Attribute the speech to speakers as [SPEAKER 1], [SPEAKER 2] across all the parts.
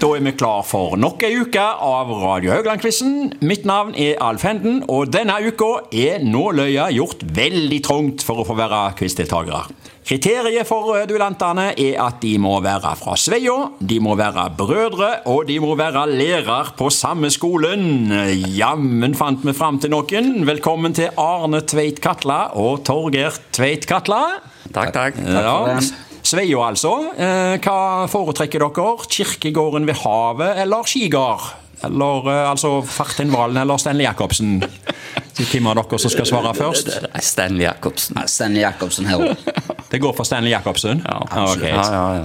[SPEAKER 1] Da er vi klar for nok ei uke av Radio Haugland-quizen. Mitt navn er Alf Henden, og denne uka er nåløya gjort veldig trangt for å få være quizdeltakere. Kriteriet for eh, duellantene er at de må være fra Sveio, de må være brødre, og de må være lærer på samme skolen. Jammen fant vi fram til noen. Velkommen til Arne Tveit Katla og Torgeir Tveit Katla.
[SPEAKER 2] Takk, takk.
[SPEAKER 1] Ja. Sveio, altså. Eh, Hva foretrekker dere? Kirkegården ved havet eller skigard? Eller eh, altså Fartin Valen eller Stanley Jacobsen? Så Hvem av dere som skal svare først?
[SPEAKER 2] Nei, Stanley Jacobsen.
[SPEAKER 3] Ja, Stanley Jacobsen her òg.
[SPEAKER 1] Det går for Stanley Jacobsen?
[SPEAKER 2] Ja,
[SPEAKER 1] Ok.
[SPEAKER 2] ja, ja.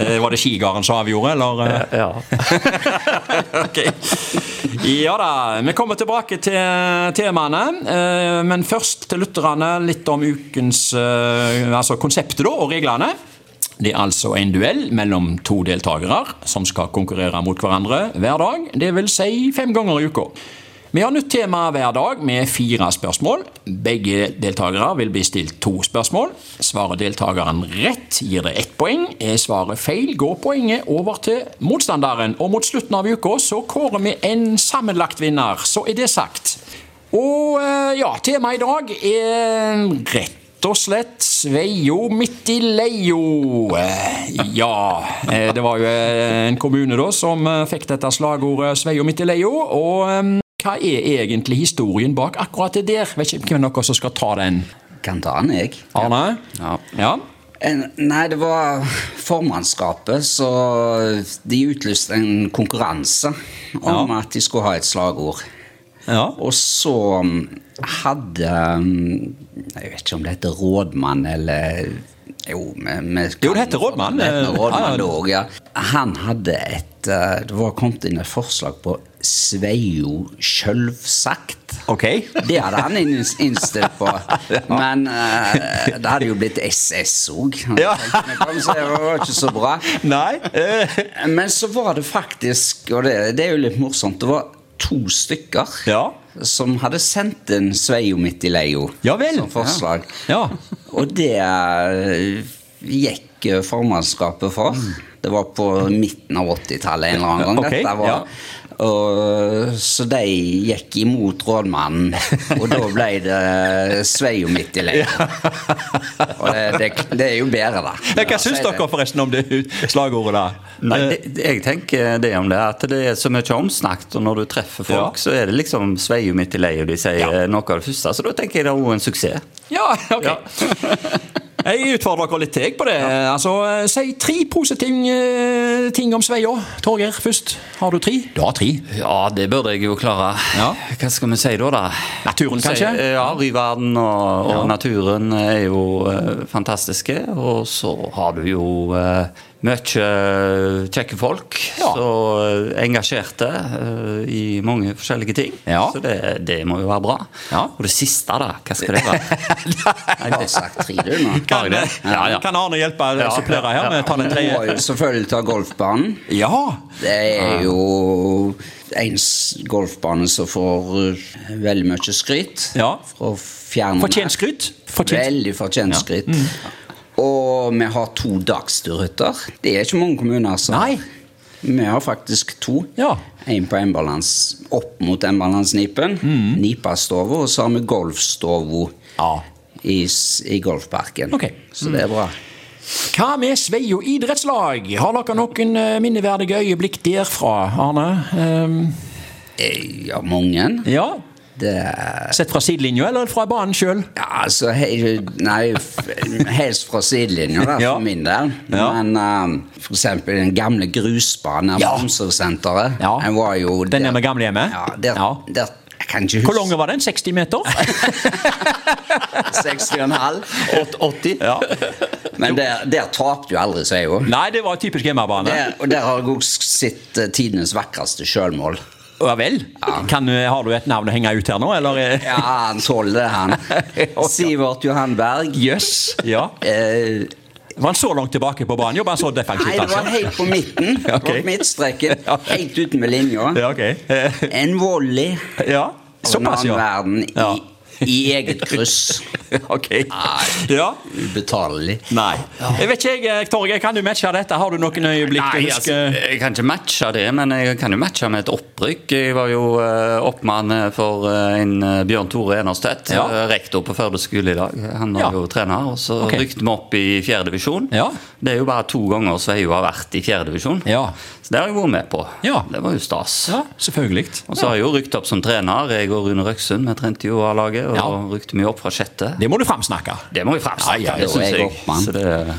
[SPEAKER 1] Eh, Var det skigarden som avgjorde, eller? eh?
[SPEAKER 2] ja.
[SPEAKER 1] ok. Ja da, vi kommer tilbake til temaene. eh, Men først til lytterne litt om ukens eh, altså konseptet da, og reglene. Det er altså en duell mellom to deltakere som skal konkurrere mot hverandre hver dag. Det vil si fem ganger i uka. Vi har nytt tema hver dag med fire spørsmål. Begge deltakere vil bli stilt to spørsmål. Svarer deltakeren rett, gir det ett poeng. Er svaret feil, går poenget over til motstanderen. Og mot slutten av uka så kårer vi en sammenlagt vinner. Så er det sagt. Og eh, ja, temaet i dag er rett og slett Sveio midt i leio. Eh, Ja, eh, det var jo eh, en kommune da som eh, fikk dette slagordet Sveio midt i leio. Og eh, hva er egentlig historien bak akkurat det der? Vet ikke hvem av dere som skal ta den.
[SPEAKER 3] Kan ta den, jeg.
[SPEAKER 1] Arne?
[SPEAKER 2] Ja.
[SPEAKER 1] Ja?
[SPEAKER 3] En, nei, det var formannskapet, så de utlyste en konkurranse om at de skulle ha et slagord.
[SPEAKER 1] Ja.
[SPEAKER 3] Og så um, hadde um, Jeg vet ikke om det heter rådmann eller Jo, vi, vi
[SPEAKER 1] Jo, det heter rådmann.
[SPEAKER 3] Det heter
[SPEAKER 1] Ja,
[SPEAKER 3] rådmann
[SPEAKER 1] ja.
[SPEAKER 3] også, ja. Han hadde et eh, Det var kommet inn et forslag på Sveio sjølvsagt.
[SPEAKER 1] Ok.
[SPEAKER 3] Det hadde han inn- innstilt på. Men eh, det hadde jo blitt SS òg.
[SPEAKER 1] Ja.
[SPEAKER 3] Det var ikke så bra.
[SPEAKER 1] Nei. eh,
[SPEAKER 3] Men så var det faktisk, og det, det er jo litt morsomt, det var to stykker
[SPEAKER 1] Ja.
[SPEAKER 3] som hadde sendt en Sveio midt i leio
[SPEAKER 1] Ja vel.
[SPEAKER 3] som forslag.
[SPEAKER 1] Ja.
[SPEAKER 3] Og det eh, gikk eh, formannskapet for. Det var på midten av 80-tallet en eller annen gang.
[SPEAKER 1] Ok,
[SPEAKER 3] Dette var,
[SPEAKER 1] ja.
[SPEAKER 3] og, eh, så de gikk imot rådmannen, og da ble det Sveio midt i leio. Og det, det, det er jo bedre, da.
[SPEAKER 1] Ja, Hva syns dere forresten om det slagordet Eh. der?
[SPEAKER 2] Nei, det, jeg tenker det om det, at det er så mye omsnakket, og når du treffer
[SPEAKER 1] Ja.
[SPEAKER 2] folk, så er det liksom sveio midt i leia, de sier eh, noe av det første. Så da tenker jeg det er også en suksess.
[SPEAKER 1] Ja, ok. Jeg utfordrer dere litt til jeg, på det. Altså, eh, Si tre positive eh, ting om Sveio. Torgeir først. Har du tre? Du har tre.
[SPEAKER 2] Ja, det burde jeg jo klare.
[SPEAKER 1] Ja.
[SPEAKER 2] Hva skal vi si da, da?
[SPEAKER 1] Naturen, kanskje?
[SPEAKER 2] Si- Ja, Ryverden og, og naturen er jo eh, fantastiske. Og så har du jo eh, mye eh, kjekke folk,
[SPEAKER 1] Ja.
[SPEAKER 2] så eh, engasjerte eh, i mange forskjellige ting.
[SPEAKER 1] Ja.
[SPEAKER 2] Så det, det må jo være bra.
[SPEAKER 1] Ja.
[SPEAKER 2] Og det siste, da? Hva skal det være?
[SPEAKER 3] Jeg har sagt tre, du, nå.
[SPEAKER 2] Har jeg det? Ja, ja.
[SPEAKER 1] Kan Arne hjelpe å
[SPEAKER 2] Ja.
[SPEAKER 1] supplere her? med å ta den
[SPEAKER 3] Du må
[SPEAKER 1] tredje?
[SPEAKER 3] jo selvfølgelig ta golfbanen.
[SPEAKER 1] Ja.
[SPEAKER 3] Det
[SPEAKER 1] Ah.
[SPEAKER 3] er jo en s- golfbane som får uh, veldig mye skryt.
[SPEAKER 1] Ja.
[SPEAKER 3] Fra fjernene.
[SPEAKER 1] Fortjent skryt. Fortjent. Mm.
[SPEAKER 3] Veldig fortjent skryt. Og vi har to dagsturhytter. Det er ikke mange kommuner som
[SPEAKER 1] Nei.
[SPEAKER 3] Vi har faktisk to.
[SPEAKER 1] Ja.
[SPEAKER 3] En på Embalans, opp mot Embalandsnipen.
[SPEAKER 1] Mm.
[SPEAKER 3] Nipastova, og så har vi Golfstova
[SPEAKER 1] Ja.
[SPEAKER 3] i, s- i golfparken.
[SPEAKER 1] Ah. Ok.
[SPEAKER 3] Så det er bra.
[SPEAKER 1] Hva med Sveio idrettslag? Har dere noen eh, minneverdige øyeblikk derfra, Arne? Ehm,
[SPEAKER 3] Eh, Ja, mange.
[SPEAKER 1] Mm. Ja.
[SPEAKER 3] Det er
[SPEAKER 1] Sett fra sidelinja eller fra banen sjøl?
[SPEAKER 3] Ja, altså he, Nei, f- helst fra sidelinja, da,
[SPEAKER 1] Ja.
[SPEAKER 3] for min del.
[SPEAKER 1] Ja.
[SPEAKER 3] Men um, for eksempel den gamle grusbanen her på
[SPEAKER 1] Ja.
[SPEAKER 3] omsorgssenteret.
[SPEAKER 1] Ja.
[SPEAKER 3] Den var jo
[SPEAKER 1] Den er med gamlehjemmet?
[SPEAKER 3] Ja, der,
[SPEAKER 1] Ja.
[SPEAKER 3] der Jeg kan ikke huske
[SPEAKER 1] Hvor lang var den? 60 meter?
[SPEAKER 3] 60,5.
[SPEAKER 2] 80?
[SPEAKER 1] Ja.
[SPEAKER 3] Men der, der tapte jo aldri seg, jo.
[SPEAKER 1] Nei, det var typisk hjemmebane.
[SPEAKER 3] Der, og der har jeg også sett eh, tidenes vakreste sjølmål.
[SPEAKER 1] Ja vel? Kan, eh, har du et navn å henge ut her nå, eller? eh?
[SPEAKER 3] Ja, han tåler det, han. Sivert Johan Berg.
[SPEAKER 1] Jøss. Ja.
[SPEAKER 3] Eh,
[SPEAKER 1] Var han så langt tilbake på banen? Jobba han så defensivt,
[SPEAKER 3] nei, det var
[SPEAKER 1] altså?
[SPEAKER 3] helt på midten. Det var
[SPEAKER 1] Ok.
[SPEAKER 3] På midtstreken.
[SPEAKER 1] Ja.
[SPEAKER 3] Helt ute med linja.
[SPEAKER 1] Ja, ok. Eh,
[SPEAKER 3] En volley.
[SPEAKER 1] Ja,
[SPEAKER 3] av en
[SPEAKER 1] såpass,
[SPEAKER 3] annen
[SPEAKER 1] ja.
[SPEAKER 3] verden i
[SPEAKER 1] Ja.
[SPEAKER 3] i eget kryss.
[SPEAKER 1] Ok. Ja.
[SPEAKER 3] Ubetalelig.
[SPEAKER 1] Nei. Jeg vet ikke, jeg, Torgeir, kan du matche dette? Har du noen øyeblikk
[SPEAKER 2] Nei,
[SPEAKER 1] du
[SPEAKER 2] altså,
[SPEAKER 1] husker?
[SPEAKER 2] jeg kan ikke matche det, men jeg kan jo matche med et opprykk. Jeg var jo eh, oppmann for eh, en eh, Bjørn Tore Enerstedt,
[SPEAKER 1] Ja.
[SPEAKER 2] eh, rektor på Førde skole i dag. Han var
[SPEAKER 1] Ja.
[SPEAKER 2] jo trener, og så
[SPEAKER 1] Ok.
[SPEAKER 2] rykte vi opp i fjerde divisjon.
[SPEAKER 1] Ja.
[SPEAKER 2] Det er jo bare to ganger Sveio har vært i fjerde divisjon,
[SPEAKER 1] Ja.
[SPEAKER 2] så det har jeg vært med på.
[SPEAKER 1] Ja.
[SPEAKER 2] Det var jo stas.
[SPEAKER 1] Ja, selvfølgelig.
[SPEAKER 2] Og så har jeg jo rykt opp som trener. Jeg og Rune Røksund, vi trente jo A-laget, og
[SPEAKER 1] Ja.
[SPEAKER 2] rykte mye opp fra sjette.
[SPEAKER 1] Det må du framsnakke.
[SPEAKER 2] Det må vi fremsnakke,
[SPEAKER 1] Ja, ja,
[SPEAKER 2] det
[SPEAKER 3] jo,
[SPEAKER 2] syns
[SPEAKER 3] jeg
[SPEAKER 2] jeg.
[SPEAKER 3] er oppmann.
[SPEAKER 2] Så det...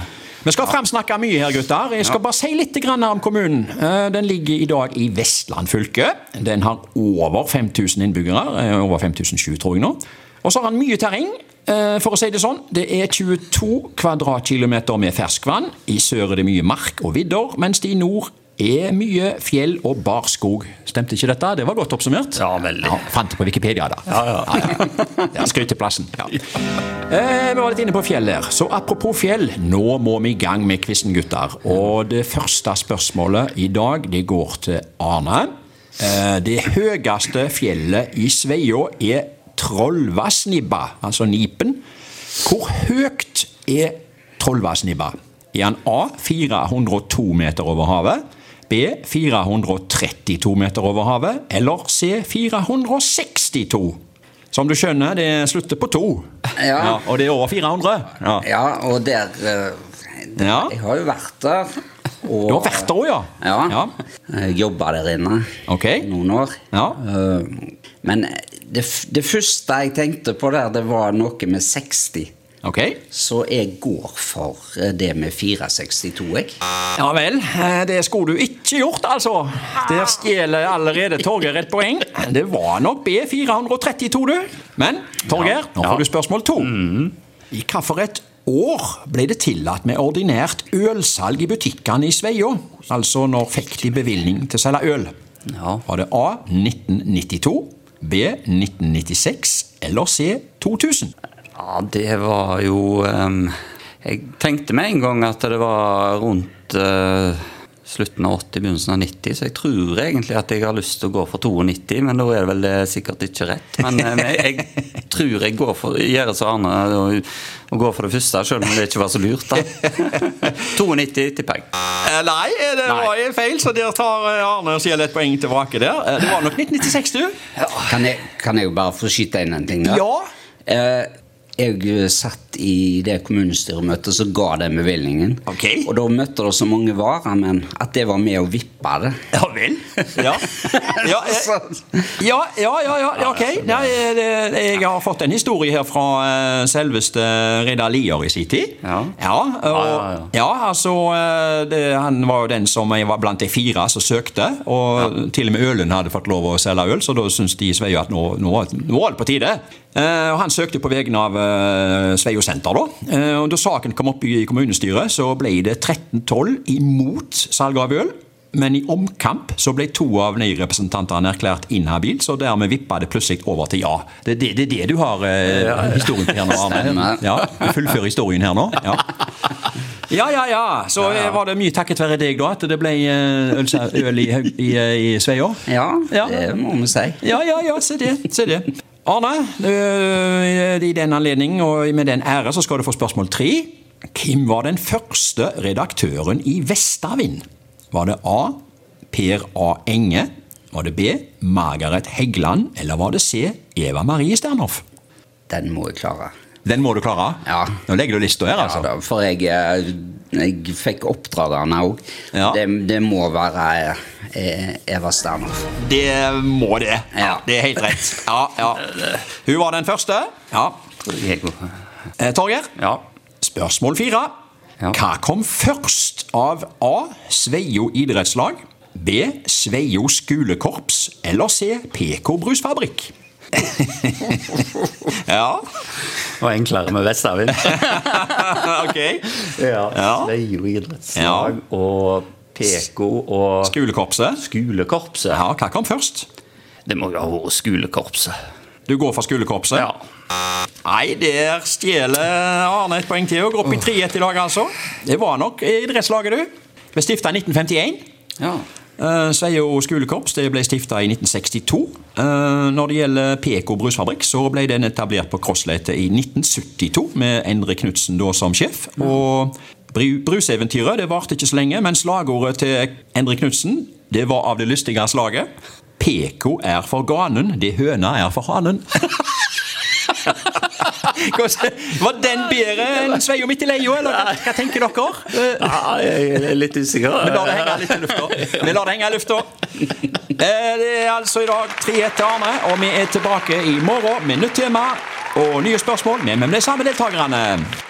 [SPEAKER 1] Vi skal framsnakke mye her, gutter. Jeg skal bare si litt grann om kommunen. Eh, Den ligger i dag i Vestland fylke. Den har over 5000 innbyggere. eh, Over 5007, tror jeg nå. Og så har han mye terreng. eh, For å si det sånn, det er 22 kvadratkilometer med ferskvann. I sør er det mye mark og vidder, mens det i nord er mye fjell og barskog. Stemte ikke dette? Det var godt oppsummert.
[SPEAKER 2] Ja, veldig.
[SPEAKER 1] fant det på Wikipedia, da. Ja, ja. ja Skryteplassen. Ja. Eh, vi var litt inne på fjell her. Så apropos fjell, nå må vi i gang med quizen, gutter. Og det første spørsmålet i dag, det går til Arne. Eh, det høyeste fjellet i Sveio er Trollvassnibba, altså Nipen. Hvor høyt er Trollvassnibba? Er han A 402 meter over havet? B 432 meter over havet? Eller C 462? Som du skjønner, det slutter på to.
[SPEAKER 3] Ja.
[SPEAKER 1] og det er over 400. Ja.
[SPEAKER 3] Ja, og der, eh, der
[SPEAKER 1] Ja.
[SPEAKER 3] Jeg har jo vært der. Og,
[SPEAKER 1] Du har vært der òg, ja.
[SPEAKER 3] Ja.
[SPEAKER 1] ja.
[SPEAKER 3] Jeg jobba der inne
[SPEAKER 1] Ok.
[SPEAKER 3] noen år.
[SPEAKER 1] Ja.
[SPEAKER 3] Eh, Men det, f- det første jeg tenkte på der, det var noe med 60.
[SPEAKER 1] Ok.
[SPEAKER 3] Så jeg går for eh, det med 462, jeg.
[SPEAKER 1] Ja vel. eh, Det skulle du ikke gjort, altså. Der stjeler allerede Torgeir et poeng. Det var nok B432, du. Men Torgeir, nå får du spørsmål to. I hvilket år ble det tillatt med ordinært ølsalg i butikkene i Sveio? Altså når fikk de bevilgning til å selge øl?
[SPEAKER 2] Ja.
[SPEAKER 1] Var det A 1992, B 1996 eller C 2000?
[SPEAKER 2] Ja, det var jo ehm, Jeg tenkte med en gang at det var rundt eh, slutten av 80, begynnelsen av 90, så jeg tror egentlig at jeg har lyst til å gå for 92, men da er det vel eh, sikkert ikke rett. Men eh, men jeg, jeg tror jeg går for gjør det som Arne og, og går for det første, selv om det ikke var så lurt, da. 92 tipper jeg.
[SPEAKER 1] Eh, Nei, det
[SPEAKER 2] Nei.
[SPEAKER 1] var en feil, så der tar eh, Arne og sier et poeng tilbake der. Eh, Det var nok 1996, du.
[SPEAKER 3] Kan jeg, kan jeg jo bare få skyte inn en ting? da?
[SPEAKER 1] Ja.
[SPEAKER 3] Eh, Jeg eh, satt i det kommunestyremøtet som ga den bevilgningen.
[SPEAKER 1] Ok.
[SPEAKER 3] Og da møtte det så mange varamenn at det var med å vippe det.
[SPEAKER 1] Ja vel. Ja, ja, eh, ja, ja, ja, ja, ja ok. Nei, eh, det- jeg har fått en historie her fra eh, selveste Reidar Lier i sin tid.
[SPEAKER 2] Ja.
[SPEAKER 1] Ja,
[SPEAKER 2] ja, ja.
[SPEAKER 1] og, ja altså eh, det, Han var jo den som var blant de fire som søkte. Og til og med Ølund hadde fått lov å selge øl, så da syntes de i Sveio at nå, nå, nå var det på tide. Eh, og Han søkte på vegne av eh, Sveio senter, da. Eh, og da saken kom opp i kommunestyret, så ble det 13-12 imot salg av øl. Men i omkamp så ble to av nei-representantene erklært inhabil, så dermed vippa det plutselig over til ja. Det er det, det, er det du har eh, historien til her nå, Arne.
[SPEAKER 3] Stemmer.
[SPEAKER 1] Ja, du fullfører historien her nå. Ja. Ja, ja, ja. Så eh, var det mye takket være deg, da, at det ble eh, øl, øl i, Haug- i, eh, i Sveio?
[SPEAKER 3] Ja,
[SPEAKER 1] Ja.
[SPEAKER 3] det må vi si.
[SPEAKER 1] Ja, ja, ja, se det. Se det. Arne, øh, i den anledning og med den ære så skal du få spørsmål tre. Hvem var den første redaktøren i Vestavind? Var det A. Per A. Enge? Var det B. Margaret Heggeland? Eller var det C. Eva Marie Sternhoff?
[SPEAKER 3] Den må jeg klare.
[SPEAKER 1] Den må du klare.
[SPEAKER 3] Ja.
[SPEAKER 1] Nå legger du lista her, altså.
[SPEAKER 3] Ja, da, for jeg, eh, jeg fikk oppdragene òg.
[SPEAKER 1] Ja.
[SPEAKER 3] Det, det må være eh, Eva Sternhoff.
[SPEAKER 1] Det må det.
[SPEAKER 3] Ja.
[SPEAKER 1] Det er helt rett. Ja, ja. Hun var den første. Ja.
[SPEAKER 2] Jeg går-
[SPEAKER 1] Eh, Torgeir?
[SPEAKER 2] Ja.
[SPEAKER 1] Spørsmål fire.
[SPEAKER 2] Ja.
[SPEAKER 1] Hva kom først av A. Sveio idrettslag, B. Sveio skolekorps eller C. PK brusfabrikk? ja,
[SPEAKER 2] Og enklere med Vestavind.
[SPEAKER 1] ok. Ja.
[SPEAKER 2] Sveio idrettslag og PK og
[SPEAKER 1] Skolekorpset.
[SPEAKER 2] Skolekorpset?
[SPEAKER 1] Ja, hva kom først?
[SPEAKER 2] Det må jo ha vært skolekorpset.
[SPEAKER 1] Du går for skolekorpset?
[SPEAKER 2] Ja.
[SPEAKER 1] Nei, der stjeler Arne et poeng til og går opp i 3-1 i dag, altså. Det var nok idrettslaget, du. Ble stifta i 1951.
[SPEAKER 2] Ja.
[SPEAKER 1] Eh, Sveio skolekorps det ble stifta i 1962. Eh, Når det gjelder Peko brusfabrikk, så ble den etablert på Krossleite i 1972, med Endre Knutsen da som sjef. Og bru- bruseventyret det varte ikke så lenge, men slagordet til Endre Knutsen det var av det lystige slaget. Peko er for ganen, det høna er for hanen. Hvordan- Var den bedre enn Sveio midt i leia, eller hva- hva tenker dere? Eh,
[SPEAKER 2] Ja, jeg er litt usikker.
[SPEAKER 1] vi lar det henge litt i lufta. Vi lar det henge i lufta. Eh, Det er altså i dag 3-1 til Arne, og vi er tilbake i morgen med nytt tema og nye spørsmål, men med de samme deltakerne.